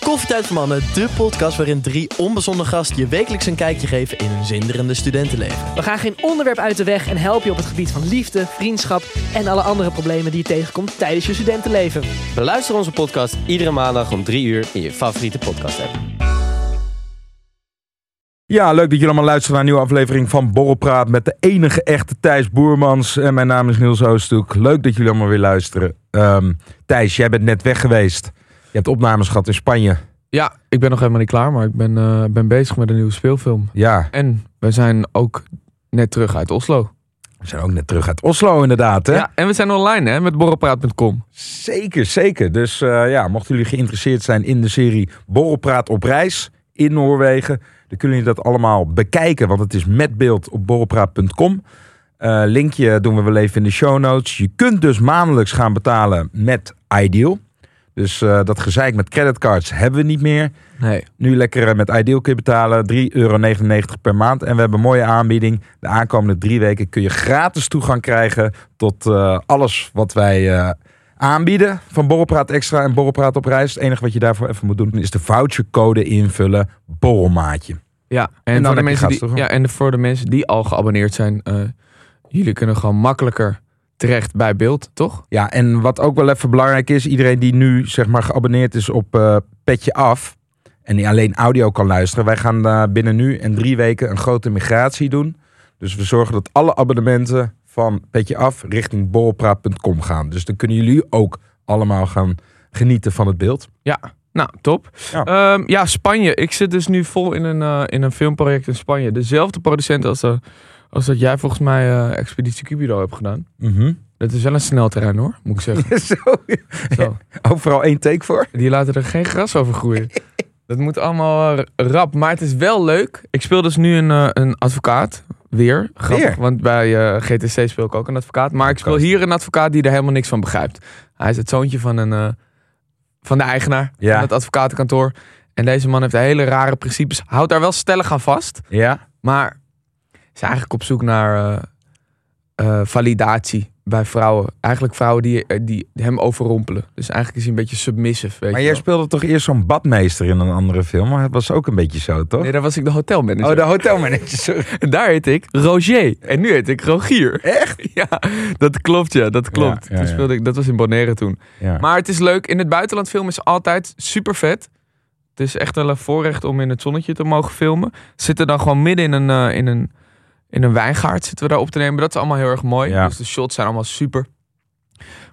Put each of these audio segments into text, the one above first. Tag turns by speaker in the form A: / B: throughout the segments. A: Koffietijd voor Mannen, de podcast waarin drie onbezonnen gasten je wekelijks een kijkje geven in hun zinderende studentenleven.
B: We gaan geen onderwerp uit de weg en helpen je op het gebied van liefde, vriendschap en alle andere problemen die je tegenkomt tijdens je studentenleven.
C: Beluister onze podcast iedere maandag om 3 uur in je favoriete podcast app.
D: Ja, leuk dat jullie allemaal luisteren naar een nieuwe aflevering van Borrelpraat met de enige echte Thijs Boermans. En mijn naam is Niels Oosthoek. Leuk dat jullie allemaal weer luisteren. Ehm, Thijs, jij bent net weg geweest. Je hebt opnames gehad in Spanje.
E: Ja, ik ben nog helemaal niet klaar, maar ik ben, eh, ben bezig met een nieuwe speelfilm.
D: Ja,
E: En we zijn ook net terug uit Oslo.
D: we zijn ook net terug uit Oslo inderdaad. Hè?
E: Ja, en we zijn online hè, met borrelpraat.com.
D: Zeker, zeker. Dus eh, ja, mochten jullie geïnteresseerd zijn in de serie Borrelpraat op reis in Noorwegen, dan kunnen jullie dat allemaal bekijken, want het is met beeld op borrelpraat.com. Eh, linkje doen we wel even in de show notes. Je kunt dus maandelijks gaan betalen met Ideal. Dus eh, dat gezeik met creditcards hebben we niet meer.
E: Nee.
D: Nu lekker eh, met Ideal kun je betalen. 3,99 euro per maand. En we hebben een mooie aanbieding. De aankomende drie weken kun je gratis toegang krijgen tot eh, alles wat wij eh, aanbieden. Van Borrelpraat Extra en Borrelpraat op reis. Het enige wat je daarvoor even moet doen is de vouchercode invullen. Borrelmaatje.
E: Ja, en,
D: dan heb
E: voor, de
D: je
E: mensen
D: gratis
E: die,
D: toegang.
E: ja, en voor de mensen die al geabonneerd zijn, eh, jullie kunnen gewoon makkelijker terecht bij beeld, toch?
D: Ja, en wat ook wel even belangrijk is, iedereen die nu zeg maar geabonneerd is op eh, Petje Af en die alleen audio kan luisteren, wij gaan eh, binnen nu en drie weken een grote migratie doen. Dus we zorgen dat alle abonnementen van Petje Af richting borrelpraat.com gaan. Dus dan kunnen jullie ook allemaal gaan genieten van het beeld.
E: Nou, top.
D: Ja.
E: Ja, ja Spanje. Ik zit dus nu vol in een, eh, in een filmproject in Spanje. Dezelfde producent als, eh, als dat jij volgens mij eh, Expeditie Cupido hebt gedaan. Dat is wel een snelterrein hoor, moet ik zeggen.
D: Zo,
E: Zo.
D: overal één take voor.
E: Die laten er geen gras over groeien. Dat moet allemaal eh, rap. Maar het is wel leuk. Ik speel dus nu een, eh, een advocaat. Weer. Grappig.
D: Weer?
E: Want bij eh, GTC speel ik ook een advocaat. Maar ik speel
D: Advocaat.
E: hier een advocaat die er helemaal niks van begrijpt. Hij is het zoontje van, een, eh, van de eigenaar
D: Ja.
E: van het advocatenkantoor. En deze man heeft hele rare principes. Houdt daar wel stellig aan vast.
D: Ja,
E: Maar is eigenlijk op zoek naar eh, eh, validatie bij vrouwen. Eigenlijk vrouwen die, eh, die hem overrompelen. Dus eigenlijk is hij een beetje submissive. Weet
D: maar
E: je
D: jij
E: wel.
D: speelde toch eerst zo'n badmeester in een andere film? Maar het was ook een beetje zo, toch?
E: Nee, daar was ik de hotelmanager.
D: Oh, de hotelmanager. sorry.
E: Daar heet ik Roger. En nu heet ik Rogier. Echt? Ja, dat klopt ja, dat klopt.
D: ja,
E: toen
D: ja.
E: speelde ik, dat was in Bonaire toen.
D: Ja.
E: Maar het is leuk. In het buitenland filmen is altijd super vet. Het is echt wel een voorrecht om in het zonnetje te mogen filmen. Zitten dan gewoon midden in een, eh, in een, in een wijngaard zitten we daar op te nemen. Dat is allemaal heel erg mooi.
D: Ja.
E: Dus de shots zijn allemaal super.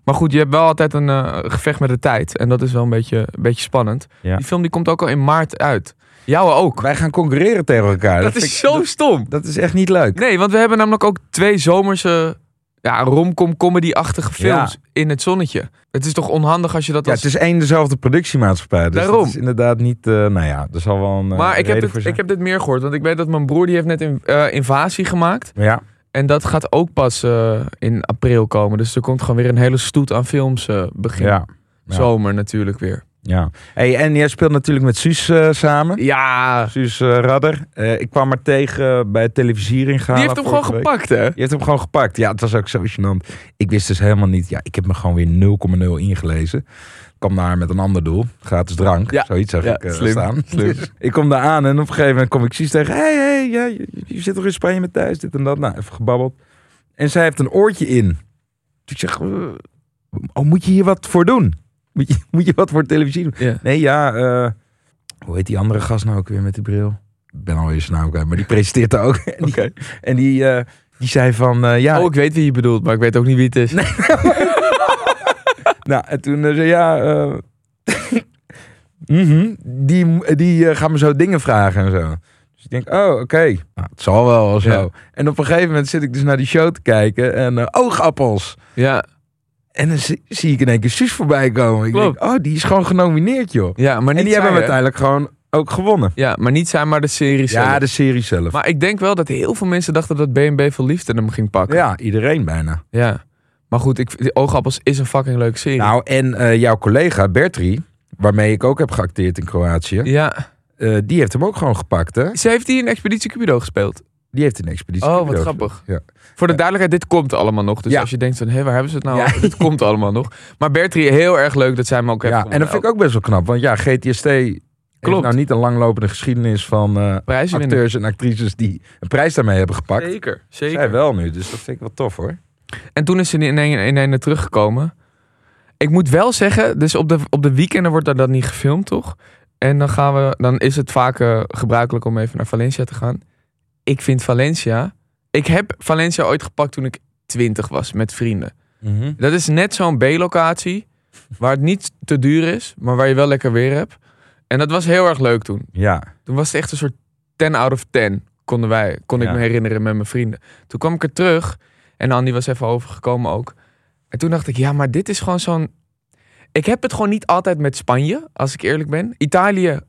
E: Maar goed, je hebt wel altijd een eh, gevecht met de tijd. En dat is wel een beetje, een beetje spannend.
D: Ja.
E: Die film die komt ook al in maart uit. Jouwe ook.
D: Wij gaan concurreren tegen elkaar.
E: dat
D: vind
E: is
D: ik-
E: zo stom.
D: Dat is echt niet leuk.
E: Nee, want we hebben namelijk ook twee zomerse ja, romcom comedy-achtige films in het zonnetje. Het is toch onhandig als je dat
D: Ja,
E: als...
D: het is één dezelfde productiemaatschappij. Dus
E: Daarom.
D: Dat is inderdaad niet. eh, nou ja, er zal wel een. eh,
E: maar ik heb,
D: reden
E: dit,
D: voor zijn.
E: ik heb dit meer gehoord, want ik weet dat mijn broer die heeft net een eh, invasie gemaakt.
D: Ja,
E: En dat gaat ook pas eh, in april komen. Dus er komt gewoon weer een hele stoet aan films eh, begin
D: ja, ja.
E: zomer natuurlijk weer.
D: ja. Hey, en jij speelt natuurlijk met Suus eh, samen.
E: Ja,
D: Suus eh, Radder. Eh, ik kwam haar tegen bij het televisiering gaan.
E: die heeft hem gewoon gepakt hè?
D: Je hebt hem gewoon gepakt. Ja, het was ook zo gênant. Ik wist dus helemaal niet. Ja, ik heb me gewoon weer 0,0 ingelezen. Ik kwam daar met een ander doel. Gratis drank.
E: Ja.
D: Zoiets zag
E: Ja,
D: ik eh,
E: slim.
D: staan.
E: Slim.
D: Dus ik kom daar aan en op een gegeven moment kom ik Suus tegen. Hé, hey, hey, ja, je, je zit toch in Spanje met thuis? Dit en dat. Nou, even gebabbeld. En zij heeft een oortje in. Dus ik zeg, eh, oh, moet je hier wat voor doen? Moet je, moet je wat voor televisie doen?
E: Ja.
D: Nee, ja. eh, hoe heet die andere gast nou ook weer met die bril? Ik ben alweer zijn naam kwijt, maar die presenteert daar ook. En die,
E: Oké.
D: en die, eh, die zei van, eh, ja,
E: Oh, ik weet wie je bedoelt, maar ik weet ook niet wie het is.
D: nou, en toen eh, zei ja, eh, mhm, die, die eh, gaan me zo dingen vragen en zo. Dus ik denk, oh, oké, nou, het zal wel of zo.
E: Ja.
D: En op een gegeven moment zit ik dus naar die show te kijken en eh, oogappels.
E: Ja,
D: En dan zie, zie ik in één keer Suus voorbij komen. Ik
E: Klopt.
D: denk, oh, die is gewoon genomineerd, joh.
E: ja, maar niet
D: en die
E: zij,
D: hebben we
E: hè?
D: uiteindelijk gewoon ook gewonnen.
E: Ja, maar niet zijn, maar de serie zelf.
D: Ja, de serie zelf.
E: Maar ik denk wel dat heel veel mensen dachten dat BNB veel liefde hem ging pakken. Ja.
D: Ja, iedereen bijna.
E: Maar goed, ik, die Oogappels is een fucking leuke serie.
D: Nou, en eh, jouw collega Bertri, waarmee ik ook heb geacteerd in Kroatië,
E: ja.
D: eh, die heeft hem ook gewoon gepakt, hè?
E: Ze heeft die in Expeditie Cupido gespeeld.
D: Die heeft een expeditie.
E: Oh, wat
D: Cupido
E: grappig.
D: Ja.
E: Voor de duidelijkheid, dit komt allemaal nog. Dus
D: Ja.
E: als je denkt van, hé, waar hebben ze het nou
D: Ja.
E: over? Dit komt allemaal nog. Maar Bertrie, heel erg leuk dat zij hem ook heeft Nou,
D: Ja, en dat vind ik ook best wel knap. Want ja, GTST
E: Klopt.
D: nou niet een langlopende geschiedenis van eh,
E: Prijzen winnen.
D: acteurs en actrices die een prijs daarmee hebben gepakt.
E: Zeker,
D: Zij
E: zeker.
D: wel nu, dus dat vind ik wel tof hoor.
E: En toen is ze in een, in een teruggekomen. Ik moet wel zeggen, dus op de, op de weekenden wordt daar dat niet gefilmd, toch? En dan, gaan we, dan is het vaak eh, gebruikelijk om even naar Valencia te gaan. Ik vind Valencia... Ik heb Valencia ooit gepakt toen ik 20 was met vrienden. Dat is net zo'n B-locatie waar het niet te duur is, maar waar je wel lekker weer hebt. En dat was heel erg leuk toen.
D: Ja,
E: Toen was het echt een soort 10 out of 10, konden wij, kon ik
D: Ja.
E: me herinneren met mijn vrienden. Toen kwam ik er terug en Andy was even overgekomen ook. En toen dacht ik, ja, maar dit is gewoon zo'n... Ik heb het gewoon niet altijd met Spanje, als ik eerlijk ben. Italië,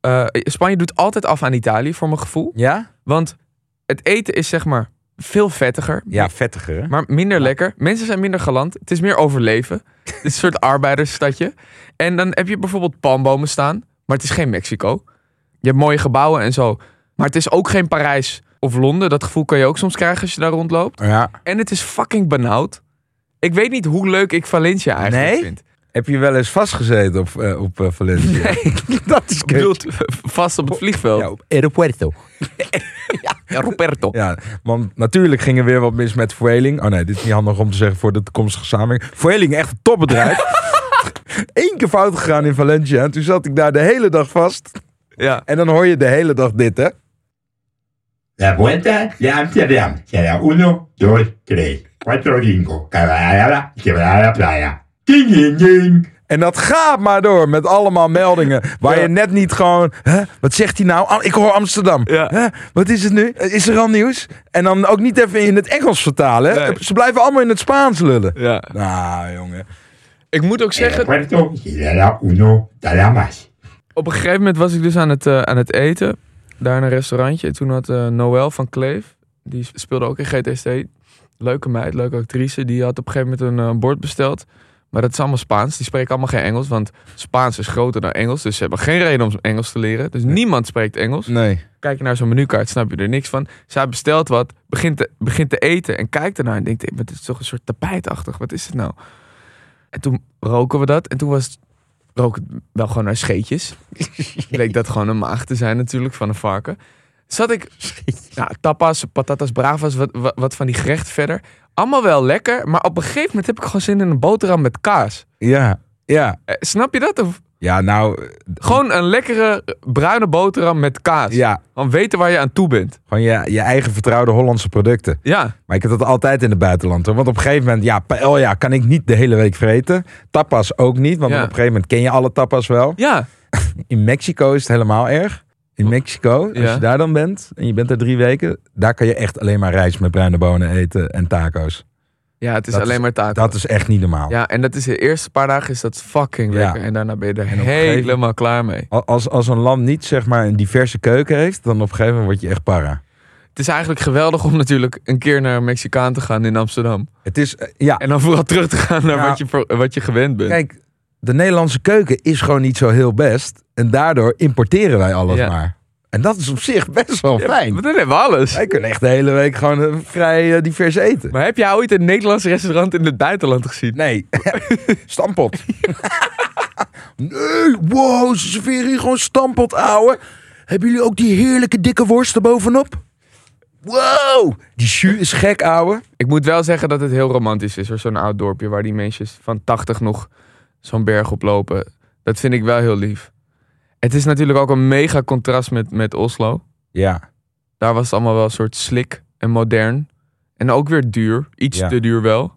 E: eh, Spanje doet altijd af aan Italië, voor mijn gevoel.
D: ja?
E: Want het eten is zeg maar veel vettiger.
D: ja vettiger. hè?
E: Maar minder lekker. Mensen zijn minder galant. Het is meer overleven. Het is een soort arbeidersstadje. En dan heb je bijvoorbeeld palmbomen staan. Maar het is geen Mexico. Je hebt mooie gebouwen en zo. Maar het is ook geen Parijs of Londen. Dat gevoel kan je ook soms krijgen als je daar rondloopt.
D: Ja.
E: En het is fucking benauwd. Ik weet niet hoe leuk ik Valencia eigenlijk
D: Nee?
E: vind.
D: Heb je wel eens vastgezeten op, eh, op eh, Valencia? dat is
E: Ik bedoel, vast op het vliegveld.
D: Ja, op Aeropuerto.
E: Ja, Roberto.
D: Ja, want natuurlijk ging er weer wat mis met Vueling. Oh nee, dit is niet handig om te zeggen voor de toekomstige samenwerking. Vueling, echt een topbedrijf. Eén keer fout gegaan in Valencia. En toen zat ik daar de hele dag vast.
E: Ja.
D: En dan hoor je de hele dag dit, hè?
F: La vuelta de Amsterdam será 1, 2, 3, 4, 5, cabalgada y quebrada la playa. ¡Ding, ding, ding!
D: En dat gaat maar door met allemaal meldingen. Waar
E: Ja.
D: je net niet gewoon. Hè, wat zegt hij nou? Am- Ik hoor Amsterdam.
E: Ja.
D: Hè, wat is het nu? Is er al nieuws? En dan ook niet even in het Engels vertalen. hè?
E: Nee.
D: Ze blijven allemaal in het Spaans lullen.
E: ja.
D: Nou, jongen.
E: Ik moet ook zeggen,
F: Aeropuerto será 1, nada más.
E: Op een gegeven moment was ik dus aan het, eh, aan het eten. Daar in een restaurantje. Toen had eh, Noël van Kleef, die speelde ook in GTST. Leuke meid, leuke actrice. Die had op een gegeven moment een eh, bord besteld. Maar dat is allemaal Spaans. Die spreken allemaal geen Engels. Want Spaans is groter dan Engels. Dus ze hebben geen reden om Engels te leren. Dus niemand spreekt Engels.
D: Nee.
E: Kijk je naar zo'n menukaart, snap je er niks van. Zij bestelt wat, begint te, begint te eten en kijkt ernaar en denkt... "Hé, maar dit is toch een soort tapijtachtig, wat is het nou? En toen roken we dat en toen was het, rook het wel gewoon naar scheetjes. Bleek dat gewoon een maag te zijn natuurlijk van een varken. Zat ik, nou, tapas, patatas bravas, wat, wat, wat van die gerechten verder. Allemaal wel lekker, maar op een gegeven moment heb ik gewoon zin in een boterham met kaas.
D: Ja. Ja.
E: Eh, snap je dat? Of,
D: Ja, nou.
E: gewoon een lekkere eh, bruine boterham met kaas.
D: Ja.
E: Gewoon weten waar je aan toe bent.
D: Gewoon je, je eigen vertrouwde Hollandse producten.
E: Ja.
D: Maar ik heb dat altijd in het buitenland. Hoor. Want op een gegeven moment, ja, paella kan ik niet de hele week vreten. Tapas ook niet, want
E: Ja.
D: op een gegeven moment ken je alle tapas wel.
E: Ja,
D: In Mexico is het helemaal erg. In Mexico, als
E: Ja.
D: je daar dan bent en je bent er drie weken, daar kan je echt alleen maar rijst met bruine bonen eten en taco's.
E: ja het is
D: Dat is-
E: alleen maar taak.
D: Dat is echt niet normaal.
E: Ja, en dat is de eerste paar dagen is dat fucking
D: Ja.
E: lekker. En daarna ben je er
D: En op een gegeven-
E: helemaal klaar mee.
D: Al- Als, als een land niet zeg maar een diverse keuken heeft, dan op een gegeven moment word je echt para.
E: Het is eigenlijk geweldig om natuurlijk een keer naar een Mexicaan te gaan in Amsterdam.
D: Het is, eh, ja,
E: En dan vooral terug te gaan naar
D: Ja.
E: wat, je, voor- wat je gewend bent.
D: kijk, de Nederlandse keuken is gewoon niet zo heel best. En daardoor importeren wij alles
E: Ja.
D: maar. En dat is op zich best wel fijn.
E: Want dan hebben we alles.
D: Wij kunnen echt de hele week gewoon eh, vrij eh, divers eten.
E: Maar heb jij ooit een Nederlands restaurant in het buitenland gezien?
D: Nee, stampot. nee, wow, ze serveren hier gewoon stampot, ouwe. Hebben jullie ook die heerlijke dikke worst erbovenop? Wow, die jus is gek, ouwe.
E: Ik moet wel zeggen dat het heel romantisch is. hoor. Zo'n oud dorpje waar die mensen van 80 nog zo'n berg oplopen. Dat vind ik wel heel lief. Het is natuurlijk ook een mega contrast met, met Oslo.
D: Ja,
E: Daar was het allemaal wel een soort slik en modern. En ook weer duur. Iets
D: Ja.
E: te duur wel.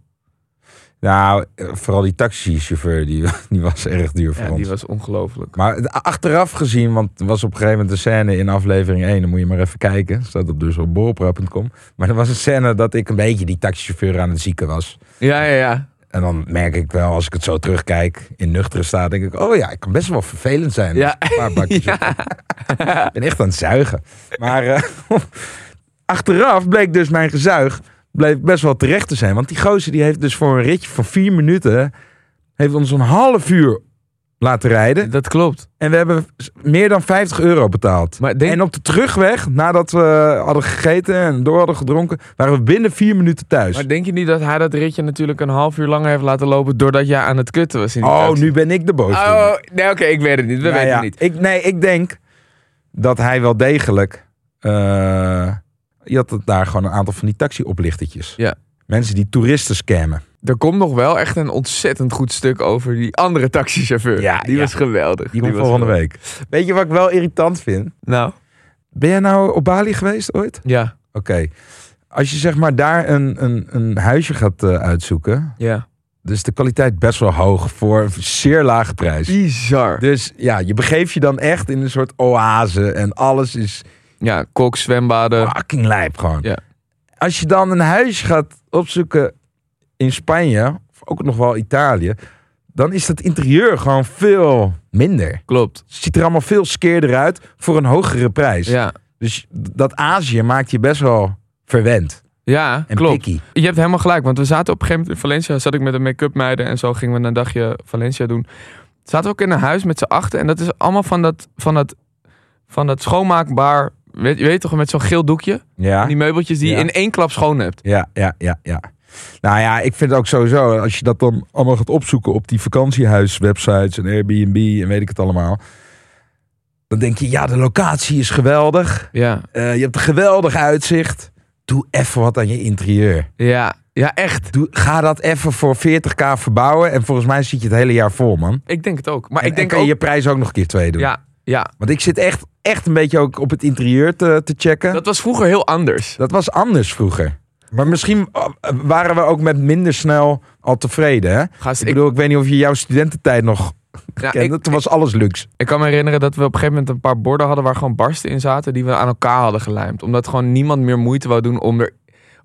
D: nou, eh, vooral die taxichauffeur, die, die was erg duur voor
E: Ja,
D: ons.
E: die was ongelooflijk.
D: Maar het- achteraf gezien, want er was op een gegeven moment een scène in aflevering 1. Dan moet je maar even kijken. Staat op dus op borrelpraat.com. Maar er was een scène dat ik een beetje die taxichauffeur aan het zieken was.
E: Ja, ja, ja.
D: En dan merk ik wel, als ik het zo terugkijk, in nuchtere staat, denk ik, oh ja, ik kan best wel vervelend zijn.
E: Ja.
D: als ik Een paar bakjes op- Ik ben echt aan het zuigen. Maar eh, achteraf bleek dus mijn gezuig bleef best wel terecht te zijn. Want die gozer die heeft dus voor een ritje van vier minuten, heeft ons een half uur laten rijden.
E: Dat klopt.
D: En we hebben s- meer dan 50 euro betaald.
E: Maar denk,
D: En op de terugweg, nadat we hadden gegeten en door hadden gedronken, waren we binnen vier minuten thuis.
E: maar denk je niet dat hij dat ritje natuurlijk een half uur langer heeft laten lopen doordat jij aan het kutten was? In die
D: oh,
E: taxi?
D: nu ben ik de boos.
E: Oh, nee, oké, ik weet het niet. We
D: Nou
E: weten
D: ja,
E: het niet.
D: Ik, nee, ik denk dat hij wel degelijk. eh, je had het daar gewoon een aantal van die taxi-oplichtertjes.
E: Ja.
D: Mensen die toeristen scammen.
E: Er komt nog wel echt een ontzettend goed stuk over die andere taxichauffeur.
D: Ja,
E: die
D: ja.
E: was geweldig.
D: Die komt
E: was
D: volgende
E: geweldig.
D: week. Weet je wat ik wel irritant vind?
E: Nou,
D: Ben jij nou op Bali geweest ooit?
E: ja,
D: Oké. Als je zeg maar daar een, een, een huisje gaat eh, uitzoeken.
E: ja.
D: Dus de kwaliteit best wel hoog voor een zeer lage prijs.
E: Bizar.
D: Dus ja, je begeeft je dan echt in een soort oase. En alles is
E: Ja, kok, zwembaden.
D: fucking lijp gewoon.
E: Ja.
D: Als je dan een huis gaat opzoeken in Spanje, of ook nog wel Italië, dan is dat interieur gewoon veel minder.
E: Klopt.
D: Het ziet er allemaal veel skeerder uit voor een hogere prijs.
E: Ja,
D: Dus dat Azië maakt je best wel verwend
E: ja
D: en
E: klopt.
D: picky.
E: Je hebt helemaal gelijk, want we zaten op een gegeven moment in Valencia. Zat ik met een make-up meiden en zo gingen we een dagje Valencia doen. Zaten we ook in een huis met z'n achten en dat is allemaal van dat, van dat, van dat schoonmaakbaar. Weet, je weet toch, met zo'n geel doekje?
D: Ja.
E: Die meubeltjes die je
D: Ja.
E: in één klap schoon hebt.
D: Ja, ja, ja, ja. Nou ja, ik vind het ook sowieso, als je dat dan allemaal gaat opzoeken op die vakantiehuiswebsites en Airbnb en weet ik het allemaal. Dan denk je, ja, de locatie is geweldig.
E: Ja,
D: Eh, je hebt een geweldig uitzicht. Doe even wat aan je interieur.
E: ja, ja, echt.
D: Doe, ga dat even voor 40k verbouwen. En volgens mij zit je het hele jaar vol, man.
E: Ik denk het ook. Maar
D: En-
E: ik denk
D: en kan
E: ook...
D: je prijs ook nog een keer twee doen.
E: Ja, ja,
D: Want ik zit echt, echt een beetje ook op het interieur te, te checken. Dat,
E: dat was vroeger heel anders.
D: was anders vroeger. Maar misschien oh, waren we ook met minder snel al tevreden. Hè?
E: Gast,
D: Ik
E: Dus ik,
D: bedoel, ik weet niet of je jouw studententijd nog
E: ja,
D: kende.
E: ik,
D: Toen was alles luxe.
E: ik kan me herinneren dat we op een gegeven moment een paar borden hadden waar gewoon barsten in zaten die we aan elkaar hadden gelijmd. Omdat gewoon niemand meer moeite wou doen om er,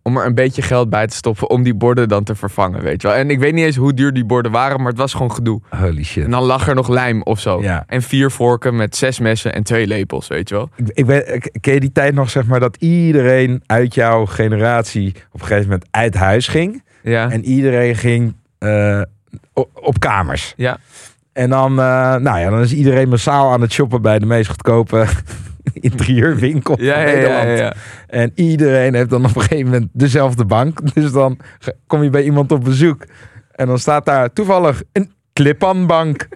E: om er een beetje geld bij te stoppen om die borden dan te vervangen, weet je wel. En ik weet niet eens hoe duur die borden waren, maar het was gewoon gedoe.
D: Holy shit.
E: En dan lag er nog lijm of zo.
D: Ja.
E: En vier vorken met zes messen en twee lepels, weet je wel.
D: Ik, ik ben, ik- ken je die tijd nog, zeg maar, dat iedereen uit jouw generatie op een gegeven moment uit huis ging?
E: Ja,
D: En iedereen ging eh, o- op kamers.
E: Ja.
D: En dan, eh, nou ja, dan is iedereen massaal aan het shoppen bij de meest goedkope interieurwinkel
E: ja,
D: van
E: ja, ja,
D: Nederland.
E: ja, ja.
D: En iedereen heeft dan op een gegeven moment dezelfde bank. Dus dan ge- kom je bij iemand op bezoek. En dan staat daar toevallig een clip-on-bank.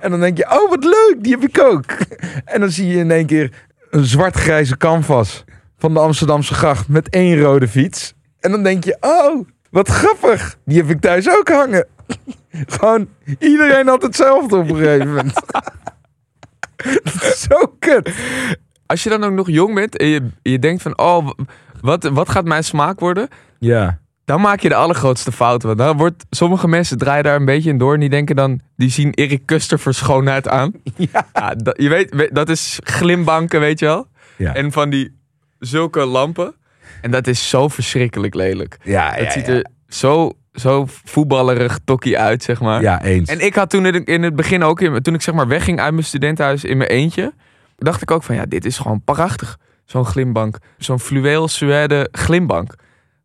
D: En dan denk je, oh wat leuk, die heb ik ook. En dan zie je in één keer een zwart-grijze canvas van de Amsterdamse gracht met één rode fiets. En dan denk je, oh, wat grappig, die heb ik thuis ook hangen. Gewoon, iedereen had hetzelfde op een gegeven moment. Dat is zo kut.
E: Als je dan ook nog jong bent en je, je denkt van, oh, w- wat, wat gaat mijn smaak worden?
D: Ja.
E: Dan maak je de allergrootste fout. Want dan wordt, sommige mensen draaien daar een beetje in door. En die denken dan, die zien Erik Kuster voor schoonheid aan. Ja. dat, je weet, we- dat is glimbanken, weet je wel.
D: Ja.
E: En van die zulke lampen. En dat is zo verschrikkelijk lelijk.
D: Ja,
E: Het ziet er zo, zo voetballerig tokkie uit, zeg maar.
D: ja, eens.
E: En ik had toen in- in het begin ook, in- toen ik zeg maar wegging uit mijn studentenhuis in mijn eentje, dacht ik ook van ja, dit is gewoon prachtig. Zo'n glimbank. Zo'n fluweel suède glimbank.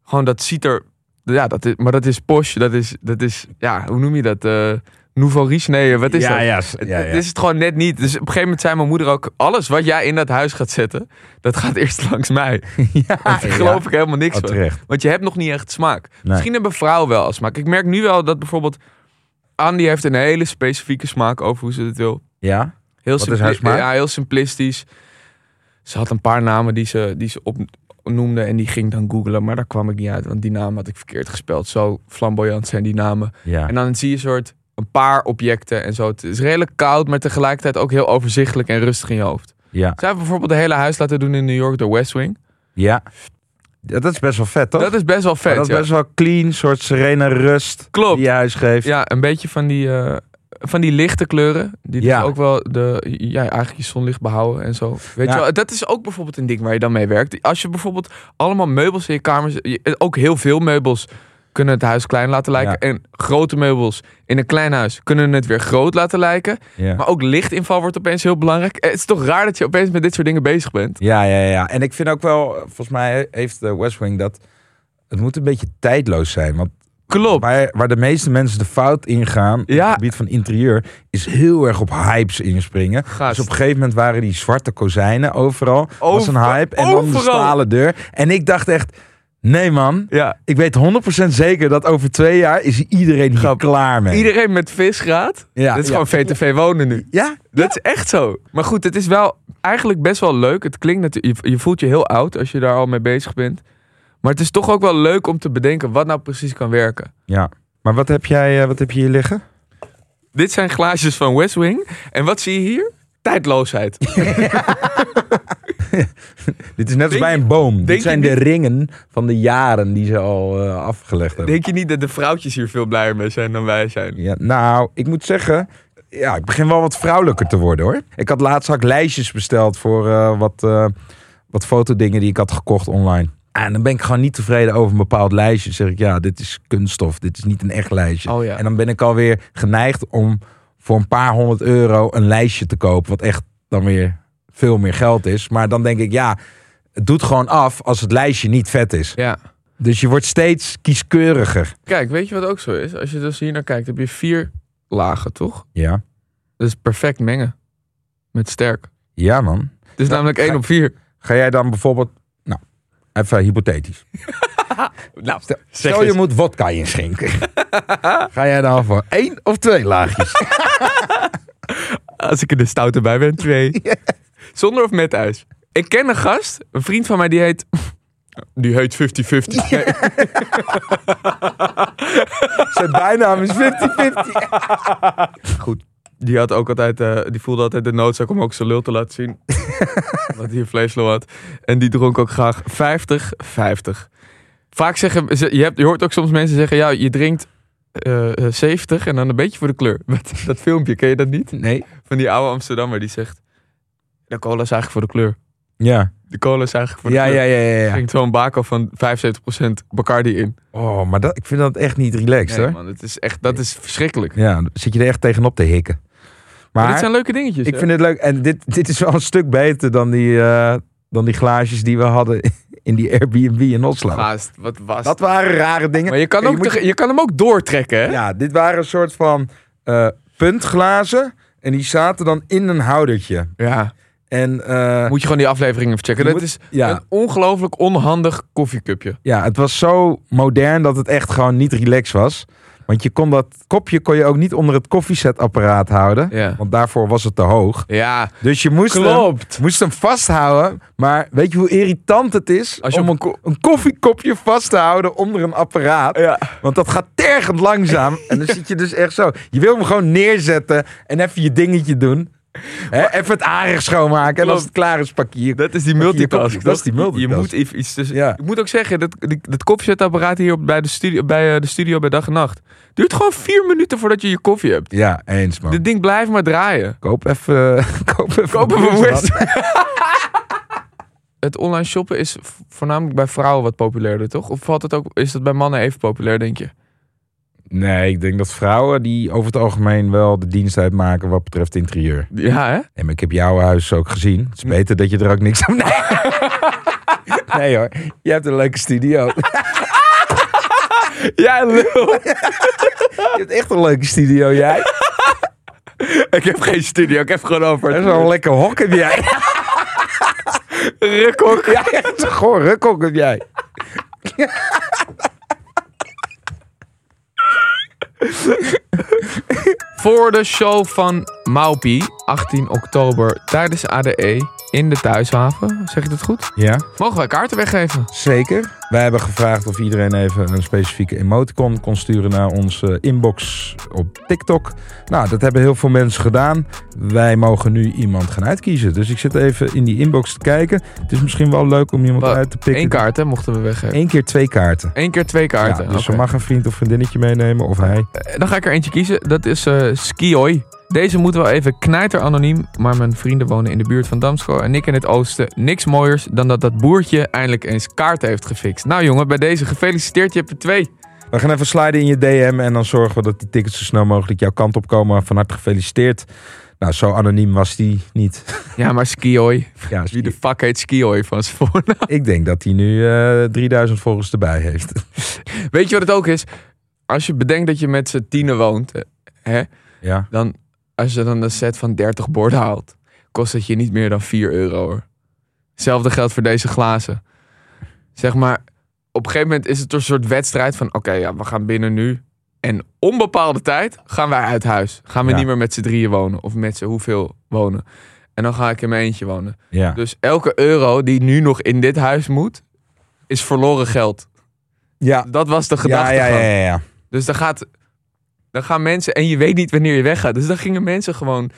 E: Gewoon dat ziet er, ja, dat is, maar dat is posh. Dat is, dat is, ja, hoe noem je dat? eh nouveau riche? Nee, eh, wat is
D: ja,
E: dat?
D: Ja, s-
E: Het-
D: ja, ja.
E: Het is het gewoon net niet. Dus op een gegeven moment zei mijn moeder ook: alles wat jij in dat huis gaat zetten, dat gaat eerst langs mij.
D: ja,
E: Daar geloof ik helemaal niks
D: Oh,
E: van.
D: terecht.
E: Want je hebt nog niet echt smaak. Misschien hebben vrouwen wel smaak. Ik merk nu wel dat bijvoorbeeld Andy heeft een hele specifieke smaak over hoe ze het wil.
D: Ja?
E: Heel
D: Wat is haar
E: simpli-
D: smaak?
E: Ja, heel simplistisch. Ze had een paar namen die ze, die ze opnoemde en die ging dan googlen. Maar daar kwam ik niet uit, want die naam had ik verkeerd gespeld. Zo flamboyant zijn die namen.
D: Ja.
E: En dan zie je een soort een paar objecten en zo. Het is redelijk koud, maar tegelijkertijd ook heel overzichtelijk en rustig in je hoofd.
D: Ja.
E: Zij heeft bijvoorbeeld het hele huis laten doen in New York door West Wing.
D: ja. Ja, Dat is best wel vet, toch?
E: Dat is best wel
D: Maar
E: vet.
D: dat is
E: ja.
D: best wel clean, soort serene rust
E: Klopt.
D: die je huis geeft.
E: Ja, een beetje van die, eh, van die lichte kleuren. Die dus
D: Ja.
E: ook wel de, ja, eigenlijk je zonlicht behouden en zo. Weet
D: Ja.
E: je wel, dat is ook bijvoorbeeld een ding waar je dan mee werkt. Als je bijvoorbeeld allemaal meubels in je kamer... zet- je- Ook heel veel meubels kunnen het huis klein laten lijken.
D: Ja.
E: En grote meubels in een klein huis kunnen het weer groot laten lijken.
D: Ja.
E: Maar ook lichtinval wordt opeens heel belangrijk. Eh, Het is toch raar dat je opeens met dit soort dingen bezig bent?
D: Ja, ja, ja. En ik eh, vind ook wel, volgens mij heeft de West Wing dat... Het moet een beetje tijdloos zijn, want
E: Klopt.
D: Waar, waar de meeste mensen de fout ingaan, op
E: Ja.
D: het gebied van interieur, is heel erg op hypes inspringen.
E: Gast.
D: Dus op een gegeven moment waren die zwarte kozijnen overal. was een
E: Over-
D: hype. En dan de
E: overal.
D: stalen deur. En ik dacht echt, nee man,
E: Ja.
D: ik weet 100% zeker dat over twee jaar is iedereen hier
E: Grap.
D: klaar mee.
E: Iedereen met visgraad.
D: Ja,
E: dat is
D: ja.
E: gewoon VTV wonen nu.
D: Ja?
E: Dat is echt zo. Maar goed, het is wel eigenlijk best wel leuk. Het klinkt natuurlijk, je, je voelt je heel oud als je daar al mee bezig bent. Maar het is toch ook wel leuk om te bedenken wat nou precies kan werken.
D: Ja. Maar wat heb jij eh, wat heb je hier liggen?
E: Dit zijn glaasjes van West Wing. En wat zie je hier? Tijdloosheid.
D: Dit is net als
E: Denk
D: bij
E: je-
D: een boom.
E: denk
D: Dit
E: je
D: zijn
E: niet-
D: de ringen van de jaren die ze al eh, afgelegd hebben.
E: Denk je niet dat de vrouwtjes hier veel blijer mee zijn dan wij zijn?
D: Ja, nou, ik moet zeggen. Ja, ik begin wel wat vrouwelijker te worden hoor. Ik had laatst had ik lijstjes besteld voor eh, wat, eh, wat fotodingen die ik had gekocht online. En dan ben ik gewoon niet tevreden over een bepaald lijstje. Dan zeg ik, ja, dit is kunststof. Dit is niet een echt lijstje.
E: Oh ja.
D: En dan ben ik alweer geneigd om voor een paar honderd euro een lijstje te kopen. Wat echt dan weer veel meer geld is. Maar dan denk ik, ja, het doet gewoon af als het lijstje niet vet is.
E: Ja.
D: Dus je wordt steeds kieskeuriger.
E: Kijk, weet je wat ook zo is? Als je dus hier naar kijkt, heb je vier lagen, toch?
D: Ja,
E: Dat is perfect mengen. Met sterk.
D: ja man.
E: Het is namelijk één op vier.
D: Ga jij dan bijvoorbeeld, nou, even hypothetisch.
E: Nou,
D: Stel je moet wodka inschenken. Ga jij dan voor één of twee laagjes?
E: Als ik er de stoute bij ben, twee. Zonder of met ijs. Ik ken een gast, een vriend van mij, die heet... Die heet 50-50. Nee,
D: Zijn bijnaam is 50-50.
E: die, had ook altijd, eh, die voelde altijd de noodzaak om ook zijn lul te laten zien. Wat hier vleeslo had. En die dronk ook graag 50-50. Vaak zeggen... ze- Je, hebt, je hoort ook soms mensen zeggen... Ja, je drinkt eh, eh, 70 en dan een beetje voor de kleur. Met dat filmpje, ken je dat niet?
D: Nee.
E: Van die oude Amsterdammer die zegt... De cola is eigenlijk voor de kleur.
D: Ja.
E: De cola is eigenlijk voor de
D: Ja,
E: kleur.
D: ja, ja, ja. ja.
E: ging zo'n bako van 75% Bacardi in.
D: Oh, maar dat, ik vind dat echt niet relaxed
E: Nee,
D: hoor.
E: man, het is echt, dat is verschrikkelijk. Maar,
D: Ja, dan zit je er echt tegenop te hikken.
E: dit
D: Maar
E: zijn leuke dingetjes.
D: ik
E: hè?
D: vind het leuk. En dit, dit is wel een stuk beter dan die, eh, dan die glaasjes die we hadden in die Airbnb in Oslo.
E: Gaast, wat was
D: Dat waren rare dingen.
E: Maar je kan, ook
D: moet-
E: tege- je kan hem ook doortrekken, hè?
D: Ja, dit waren een soort van eh, puntglazen. En die zaten dan in een houdertje.
E: Ja.
D: En eh,
E: Moet je gewoon die aflevering even
D: Je
E: checken. Dat
D: moet-
E: is
D: ja.
E: een ongelooflijk onhandig koffiecupje.
D: ja, het was zo modern dat het echt gewoon niet relaxed was. Want je kon dat kopje kon je ook niet onder het koffiezetapparaat houden.
E: Ja.
D: Want daarvoor was het te hoog.
E: Ja,
D: Dus je moest, hem,
E: klopt.
D: moest hem vasthouden. Maar weet je hoe irritant het is
E: Als je
D: om
E: op
D: een, ko- een koffiekopje vast te houden onder een apparaat?
E: Ja.
D: Want dat gaat tergend langzaam. En dan zit je dus echt zo. Je wil hem gewoon neerzetten en even je dingetje doen. Hè, even het aardig schoonmaken. En als het klaar is, pak je je-
E: Dat is die
D: pak je je
E: multitask.
D: kopje. Dat is die multitask.
E: Je moet even iets tussen.
D: Ja.
E: Ik moet ook zeggen, dat, die- dat koffiezetapparaat hier op- bij, de studio, bij eh, de studio bij dag en nacht. duurt gewoon vier minuten voordat je je koffie hebt.
D: Ja, eens man.
E: Dit ding blijft maar draaien.
D: Koop even... koop even
E: Koop even
D: Westman.
E: Westman. Het online shoppen is v- voornamelijk bij vrouwen wat populairder, toch? Of valt het ook, is dat bij mannen even populair, denk je?
D: Nee, ik denk dat vrouwen die over het algemeen wel de dienst uitmaken wat betreft interieur.
E: Ja, hè?
D: En ik heb jouw huis ook gezien. Het is beter dat je er ook niks aan... Nee, nee hoor. Je hebt een leuke studio. Je
E: Ja, lul.
D: hebt echt een leuke studio, jij.
E: ik heb geen studio, ik heb gewoon
D: Dat is
E: over.
D: wel een lekker hok heb jij.
E: Rukhok.
D: Ja, het is een goor rukhok heb jij.
E: Voor de show van Maupi, 18 oktober, tijdens ADE, in de Thuishaven. Zeg ik dat goed?
D: Ja,
E: Mogen wij kaarten weggeven?
D: zeker. Wij hebben gevraagd of iedereen even een specifieke emoticon kon sturen naar onze eh, inbox op TikTok. Nou, dat hebben heel veel mensen gedaan. Wij mogen nu iemand gaan uitkiezen. Dus ik zit even in die inbox te kijken. Het is misschien wel leuk om iemand
E: Wel,
D: uit te pikken.
E: Eén kaart, hè, mochten we weggeven.
D: Eén keer twee kaarten.
E: Eén keer twee kaarten.
D: Ja, dus ze
E: Oké.
D: mag een vriend of vriendinnetje meenemen of hij.
E: Eh, Dan ga ik er eentje kiezen. Dat is eh Skioi. Deze moeten we even knijter anoniem. Maar mijn vrienden wonen in de buurt van Damsko en ik in het oosten. Niks mooiers dan dat dat boertje eindelijk eens kaart heeft gefixt. Nou jongen, bij deze gefeliciteerd. Je hebt er twee.
D: We gaan even sliden in je DM en dan zorgen we dat die tickets zo snel mogelijk jouw kant op komen. Van harte gefeliciteerd. Nou, zo anoniem was die niet.
E: Ja, maar Skioi.
D: Ja,
E: Wie de fuck heet Skioi van z'n voornaam?
D: Ik denk dat hij nu eh 3000 volgers erbij heeft.
E: Weet je wat het ook is? als je bedenkt dat je met z'n tienen woont, eh, hè,
D: Ja.
E: dan als je dan een set van 30 borden haalt, kost het je niet meer dan 4 euro hoor. Hetzelfde geldt voor deze glazen. Zeg maar, op een gegeven moment is het een soort wedstrijd van oké, ja, we gaan binnen nu. En onbepaalde tijd gaan wij uit huis. Gaan we
D: Ja.
E: niet meer met z'n drieën wonen of met z'n hoeveel wonen. En dan ga ik in mijn eentje wonen.
D: ja.
E: Dus elke euro die nu nog in dit huis moet, is verloren geld.
D: Ja.
E: Dat was de
D: Ja,
E: gedachte.
D: ja, ja, ja, ja.
E: Dus dan, gaat, dan gaan mensen, en je weet niet wanneer je weggaat. Dus dan gingen mensen gewoon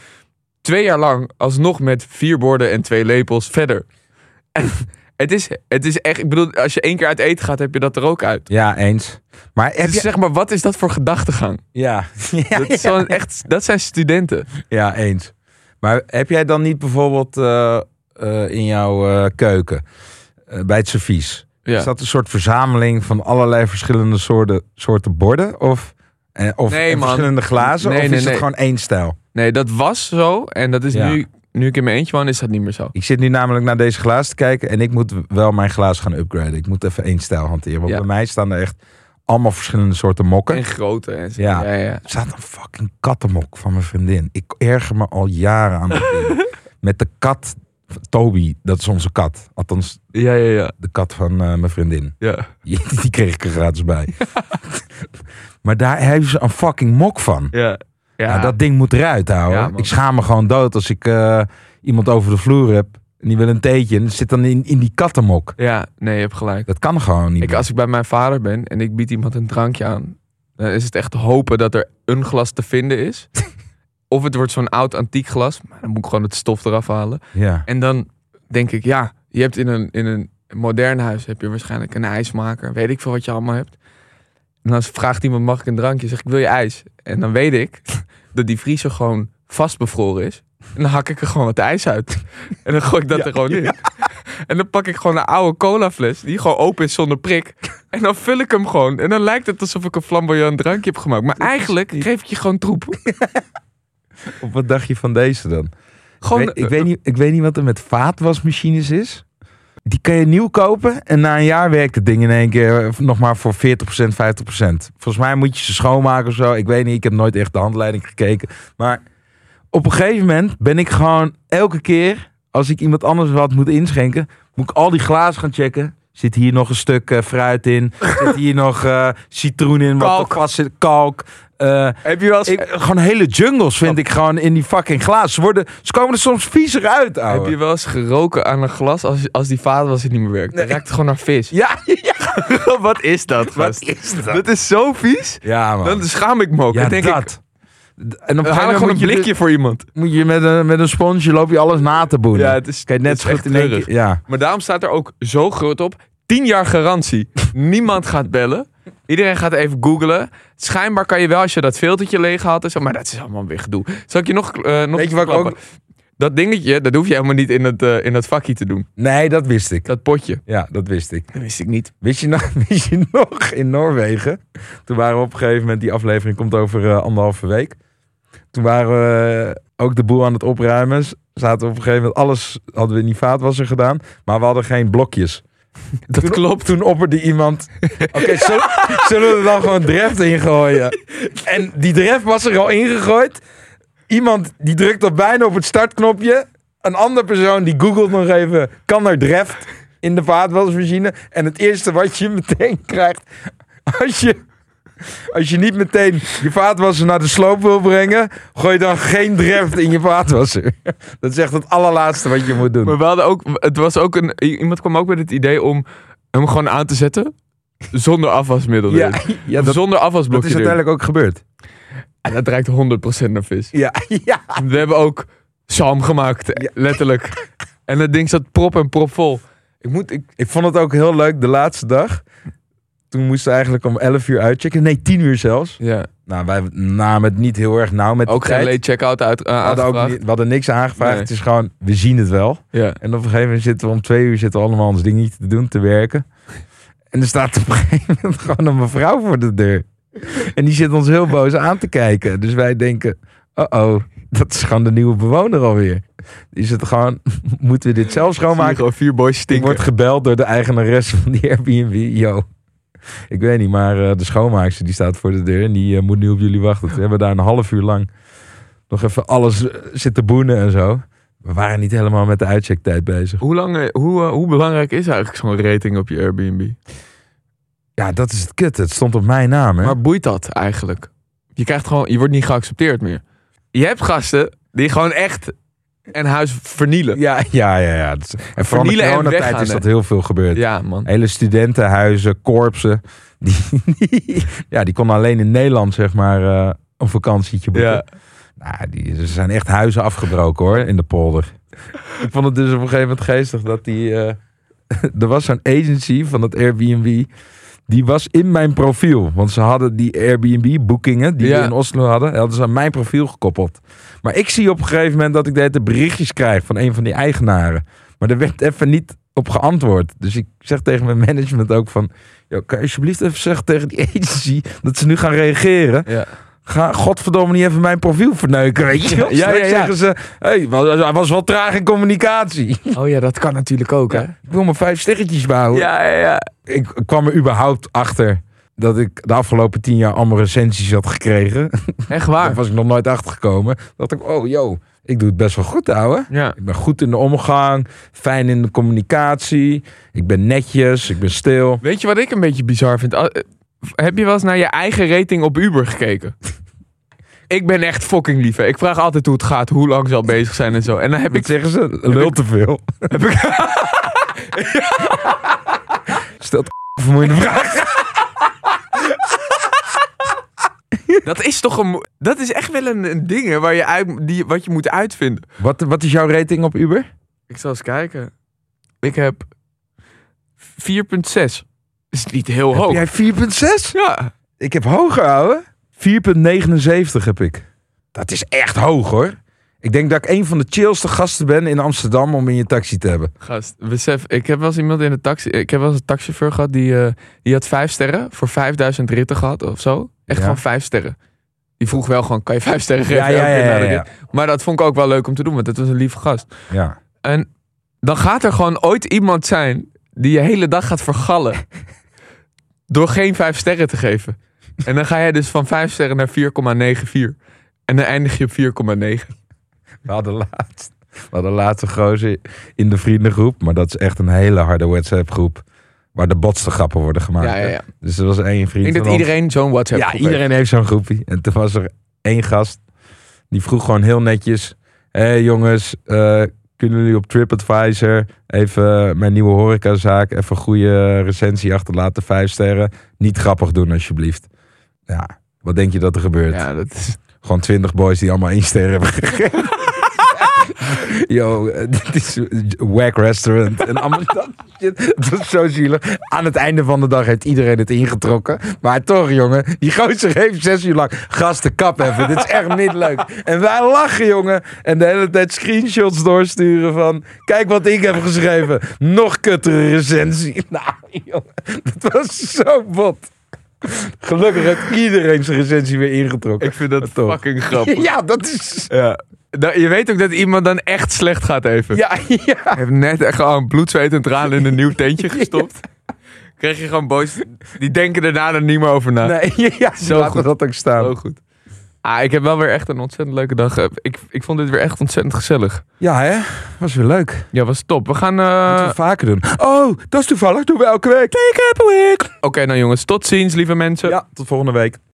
E: twee jaar lang alsnog met vier borden en twee lepels verder. En het, is, het is echt, ik bedoel, als je één keer uit eten gaat, heb je dat er ook uit.
D: Ja, eens. Maar heb
E: Dus
D: je...
E: zeg maar, wat is dat voor gedachtegang?
D: Ja. Ja,
E: Dat, is
D: ja,
E: gewoon echt, dat zijn studenten.
D: ja, eens. Maar heb jij dan niet bijvoorbeeld eh, eh, in jouw eh, keuken, eh, bij het servies,
E: Ja.
D: is dat een soort verzameling van allerlei verschillende soorten, soorten borden? Of, eh, of
E: Nee,
D: en
E: man.
D: verschillende glazen?
E: Nee,
D: of is
E: nee,
D: het
E: nee.
D: gewoon één stijl?
E: Nee, dat was zo. En dat is
D: Ja.
E: nu, nu ik in mijn eentje woon, is dat niet meer zo.
D: Ik zit nu namelijk naar deze glazen te kijken en ik moet wel mijn glazen gaan upgraden. Ik moet even één stijl hanteren. Want
E: Ja.
D: bij mij staan er echt allemaal verschillende soorten mokken.
E: En grote en zo.
D: Ja.
E: Ja, ja.
D: Er staat een fucking kattenmok van mijn vriendin. Ik erger me al jaren aan dat ding. Met de kat, Toby, dat is onze kat. Althans,
E: Ja, ja, ja.
D: de kat van eh, mijn vriendin.
E: ja.
D: Die die kreeg ik er gratis bij. maar daar hebben ze een fucking mok van.
E: Ja. Ja.
D: Nou, dat ding moet eruit houden.
E: Ja, man.
D: ik schaam me gewoon dood als ik eh, iemand over de vloer heb. En die wil een theetje. En zit dan in, in die kattenmok.
E: ja, nee, je hebt gelijk.
D: Dat kan gewoon niet.
E: Ik,
D: meer.
E: als ik bij mijn vader ben en ik bied iemand een drankje aan, dan is het echt hopen dat er een glas te vinden is. of het wordt zo'n oud antiek glas, maar dan moet ik gewoon het stof eraf halen.
D: Ja.
E: En dan denk ik, ja, je hebt in een, in een modern huis heb je waarschijnlijk een ijsmaker, weet ik veel wat je allemaal hebt. En dan vraagt iemand, mag ik een drankje? Zeg ik, wil je ijs? En dan weet ik dat die vriezer gewoon vastbevroren is. En dan hak ik er gewoon wat ijs uit. En dan gooi ik dat er gewoon in. En dan pak ik gewoon een oude colafles, die gewoon open is zonder prik. En dan vul ik hem gewoon. En dan lijkt het alsof ik een flamboyant drankje heb gemaakt. Maar eigenlijk geef ik je gewoon troep.
D: Of wat dacht je van deze dan?
E: Gewoon, eh,
D: ik, weet, ik, weet niet, ik weet niet wat er met vaatwasmachines is. Die kan je nieuw kopen en na een jaar werkt het ding in één keer eh, nog maar voor 40%, 50%. Volgens mij moet je ze schoonmaken of zo. Ik weet niet, ik heb nooit echt de handleiding gekeken. Maar op een gegeven moment ben ik gewoon elke keer, als ik iemand anders wat moet inschenken, moet ik al die glazen gaan checken. Zit hier nog een stuk eh, fruit in? Zit hier nog eh, citroen in? Wat
E: Kalk.
D: er vast zit? Kalk. Eh,
E: heb je wel eens,
D: ik, gewoon hele jungles vind ik gewoon in die fucking glazen. Ze, worden, ze komen er soms viezer uit, ouwe.
E: heb je wel eens geroken aan een glas als, als die vader was het niet meer werkt? Dan raakt het gewoon naar vis.
D: Ja, ja.
E: Wat is dat, gast?
D: is
E: Dat is zo vies.
D: Ja, man.
E: Dan schaam ik me ook.
D: ja,
E: dan denk ik,
D: dat. D- En op Eh, een
E: we
D: gegeven
E: halen gewoon
D: moment
E: een
D: moet je,
E: blikje voor iemand.
D: moet je met, een, met een sponsje loop je alles na te boenen.
E: Ja, het is-
D: Kijk, net
E: het is
D: zo goed
E: echt
D: in één keer-
E: treurig.
D: Ja.
E: Maar daarom staat er ook zo groot op: 10 jaar garantie. Niemand gaat bellen. Iedereen gaat even googlen. Schijnbaar kan je wel als je dat filtertje leeg had en zo, maar dat is allemaal weer gedoe. Zal ik je nog, eh nog
D: Weet je wat ik
E: verklappen? Dat dingetje, dat hoef je helemaal niet in dat, eh, in dat vakje te doen.
D: Nee, dat wist ik.
E: Dat potje.
D: Ja, dat wist ik.
E: Dat wist ik niet.
D: Wist je, nog, wist je nog in Noorwegen? Toen waren we op een gegeven moment, die aflevering komt over eh, anderhalve week. Toen waren we eh, ook de boel aan het opruimen. Z- Zaten we op een gegeven moment, alles hadden we in die vaatwasser gedaan. Maar we hadden geen blokjes.
E: Dat
D: Toen-
E: klopt.
D: Toen opperde iemand, oké, zullen, zullen we er dan gewoon dreft in gooien? En die dreft was er al ingegooid. Iemand die drukt al bijna op het startknopje. Een andere persoon die googelt nog even, kan er dreft in de vaatwasmachine? En het eerste wat je meteen krijgt, als je, als je niet meteen je vaatwasser naar de sloop wil brengen, gooi dan geen dreft in je vaatwasser. Dat is echt het allerlaatste wat je moet doen.
E: Maar we hadden ook, het was ook een, i- iemand kwam ook met het idee om hem gewoon aan te zetten. Zonder afwasmiddel.
D: Ja,
E: erin.
D: ja
E: Of
D: dat,
E: zonder
D: dat
E: afwasblokje.
D: is
E: erin.
D: uiteindelijk ook gebeurd.
E: En dat ruikt 100% naar vis.
D: Ja, ja.
E: We hebben ook zalm gemaakt, letterlijk. En dat ding zat prop en prop vol. Ik moet, ik,
D: Ik vond het ook heel leuk de laatste dag. Toen moesten we eigenlijk om 11 uur uitchecken. Nee, 10 uur zelfs.
E: ja,
D: Nou, wij namen het niet heel erg nauw met de
E: ook geen
D: tijd.
E: late checkout uit, eh,
D: we, hadden ook
E: aangevraagd.
D: niet- we hadden niks aangevraagd.
E: Nee.
D: Het is gewoon, we zien het wel.
E: Ja.
D: En op een gegeven moment zitten we om twee uur zitten we allemaal ons dingetje te doen, te werken. En er staat op een gegeven moment gewoon een mevrouw voor de deur. En die zit ons heel boos aan te kijken. Dus wij denken, oh-oh, dat is gewoon de nieuwe bewoner alweer. Is het gewoon, moeten we dit zelf
E: Zie je
D: schoonmaken?
E: gewoon vier boys
D: Ik
E: stinken.
D: word gebeld door de eigenaresse van die Airbnb. Yo, Ik weet niet, maar eh, de schoonmaakster die staat voor de deur en die eh, moet nu op jullie wachten. Ze hebben daar een half uur lang nog even alles eh, zitten boenen en zo. We waren niet helemaal met de uitchecktijd bezig.
E: Hoe, lang, eh, hoe, eh, hoe belangrijk is eigenlijk zo'n rating op je Airbnb?
D: Ja, dat is het kut. Het stond op mijn naam, hè?
E: Maar boeit dat eigenlijk? Je, krijgt gewoon, je wordt niet geaccepteerd meer. Je hebt gasten die gewoon echt een huis vernielen.
D: Ja, ja, ja. ja. Dat is- En vooral in de
E: Vernielen en
D: coronatijd
E: weggaan,
D: is
E: hè?
D: dat heel veel gebeurd.
E: Ja, man.
D: Hele studentenhuizen, korpsen. Die, die- ja, die konden alleen in Nederland, zeg maar, eh, een vakantietje boeken.
E: Ja.
D: Nou, die, er zijn echt huizen afgebroken, hoor, in de polder. Ik vond het dus op een gegeven moment geestig dat die... eh, er was zo'n agency van dat Airbnb... Die was in mijn profiel. Want ze hadden die Airbnb-boekingen die
E: Ja.
D: we in Oslo hadden... hadden ze aan mijn profiel gekoppeld. Maar ik zie op een gegeven moment dat ik de hele tijd berichtjes krijg... van een van die eigenaren. Maar er werd even niet op geantwoord. Dus ik zeg tegen mijn management ook van... "Yo, kan je alsjeblieft even zeggen tegen die agency... dat ze nu gaan reageren.
E: Ja.
D: Ga godverdomme niet even mijn profiel verneuken, weet je wel.
E: Ja, ja,
D: Straks
E: ja.
D: zeggen ze... hey, wa- hij was wel traag in communicatie.
E: Oh ja, dat kan natuurlijk ook, hè?
D: Ik wil mijn vijf sterretjes behouden.
E: Ja, ja, ja.
D: Ik kwam er überhaupt achter... dat ik de afgelopen tien jaar allemaal recensies had gekregen.
E: Echt
D: Daar
E: waar.
D: was ik nog nooit achter gekomen. dacht ik, oh, yo, ik doe het best wel goed, ouwe.
E: Ja.
D: Ik ben goed in de omgang, fijn in de communicatie. Ik ben netjes, ik ben stil.
E: Weet je wat ik een beetje bizar vind? Al- eh, Heb je wel eens naar je eigen rating op Uber gekeken? Ik ben echt fucking lief. hè. Ik vraag altijd hoe het gaat, hoe lang ze al bezig zijn en zo. En dan heb
D: Wat
E: ik...
D: zeggen ze? Lul te veel.
E: Heb ik
D: Stelt vermoeiende vraag.
E: dat is toch een... mo- Dat is echt wel een, een ding, hè, waar je uit, die, wat je moet uitvinden.
D: Wat, wat is jouw rating op Uber?
E: Ik zal eens kijken. Ik heb 4,6. Is niet heel hoog.
D: Heb jij 4,6?
E: Ja.
D: Ik heb hoger, ouwe. 4,79 heb ik. Dat is echt hoog, hoor. Ik denk dat ik een van de chillste gasten ben in Amsterdam om in je taxi te hebben.
E: Gast, besef, ik heb wel eens iemand in de taxi. Ik heb wel eens een taxichauffeur gehad die, eh, die had vijf sterren voor 5000 ritten gehad of zo. Echt
D: Ja.
E: gewoon vijf sterren. Die vroeg wel gewoon: kan je vijf sterren geven?
D: Ja, ja,
E: Elke keer
D: ja,
E: naar de
D: ja,
E: rit. Maar dat vond ik ook wel leuk om te doen, want dat was een lieve gast.
D: Ja.
E: En dan gaat er gewoon ooit iemand zijn die je hele dag gaat vergallen. door geen vijf sterren te geven. En dan ga jij dus van vijf sterren naar 4,94. En dan eindig je op 4,9.
D: We hadden laatst, we hadden laatst een gozer in de vriendengroep. Maar dat is echt een hele harde WhatsApp groep. Waar de botste grappen worden gemaakt.
E: Ja, ja, ja.
D: hè. Dus er was één vriend
E: Ik denk
D: van
E: dat
D: ons-
E: iedereen zo'n WhatsApp
D: Ja,
E: groep heeft.
D: iedereen heeft zo'n groepie. En toen was er één gast. Die vroeg gewoon heel netjes. Hé hey jongens, eh, kunnen jullie op TripAdvisor even eh, mijn nieuwe horecazaak... even een goede recensie achterlaten, vijf sterren. Niet grappig doen alsjeblieft. Ja, wat denk je dat er gebeurt?
E: Ja, dat is.
D: Gewoon twintig boys die allemaal één ster hebben gegeven. Yo, eh, dit is een whack restaurant. En allemaal dat shit. Dat is zo zielig. Aan het einde van de dag heeft iedereen het ingetrokken. Maar toch, jongen. Die gozer heeft zes uur lang gasten kap even. Dit is echt niet leuk. En wij lachen, jongen. En de hele tijd screenshots doorsturen van... Kijk wat ik heb geschreven. Nog kuttere recensie. Nou, jongen. Dat was zo bot. Gelukkig heeft iedereen zijn recensie weer ingetrokken.
E: Ik vind dat
D: Maar toch.
E: fucking grappig.
D: Ja, dat is.
E: Ja. Nou, je weet ook dat iemand dan echt slecht gaat even.
D: Ja, ja.
E: Hij heeft net echt gewoon bloed, zweet en tranen in een nieuw tentje gestopt. Krijg je gewoon boys, die denken er daarna niet meer over na.
D: Nee, ja,
E: Zo
D: laten
E: goed.
D: we dat ook staan.
E: Zo goed. Ah, ik heb wel weer echt een ontzettend leuke dag. eh, Ik, ik vond dit weer echt ontzettend gezellig.
D: Ja, hè? Was weer leuk.
E: Ja, was top. We gaan...
D: Moeten
E: eh,
D: we vaker doen. Oh, dat is toevallig. Doen we elke week.
E: Oké, nou jongens, tot ziens, lieve mensen.
D: Ja, tot volgende week.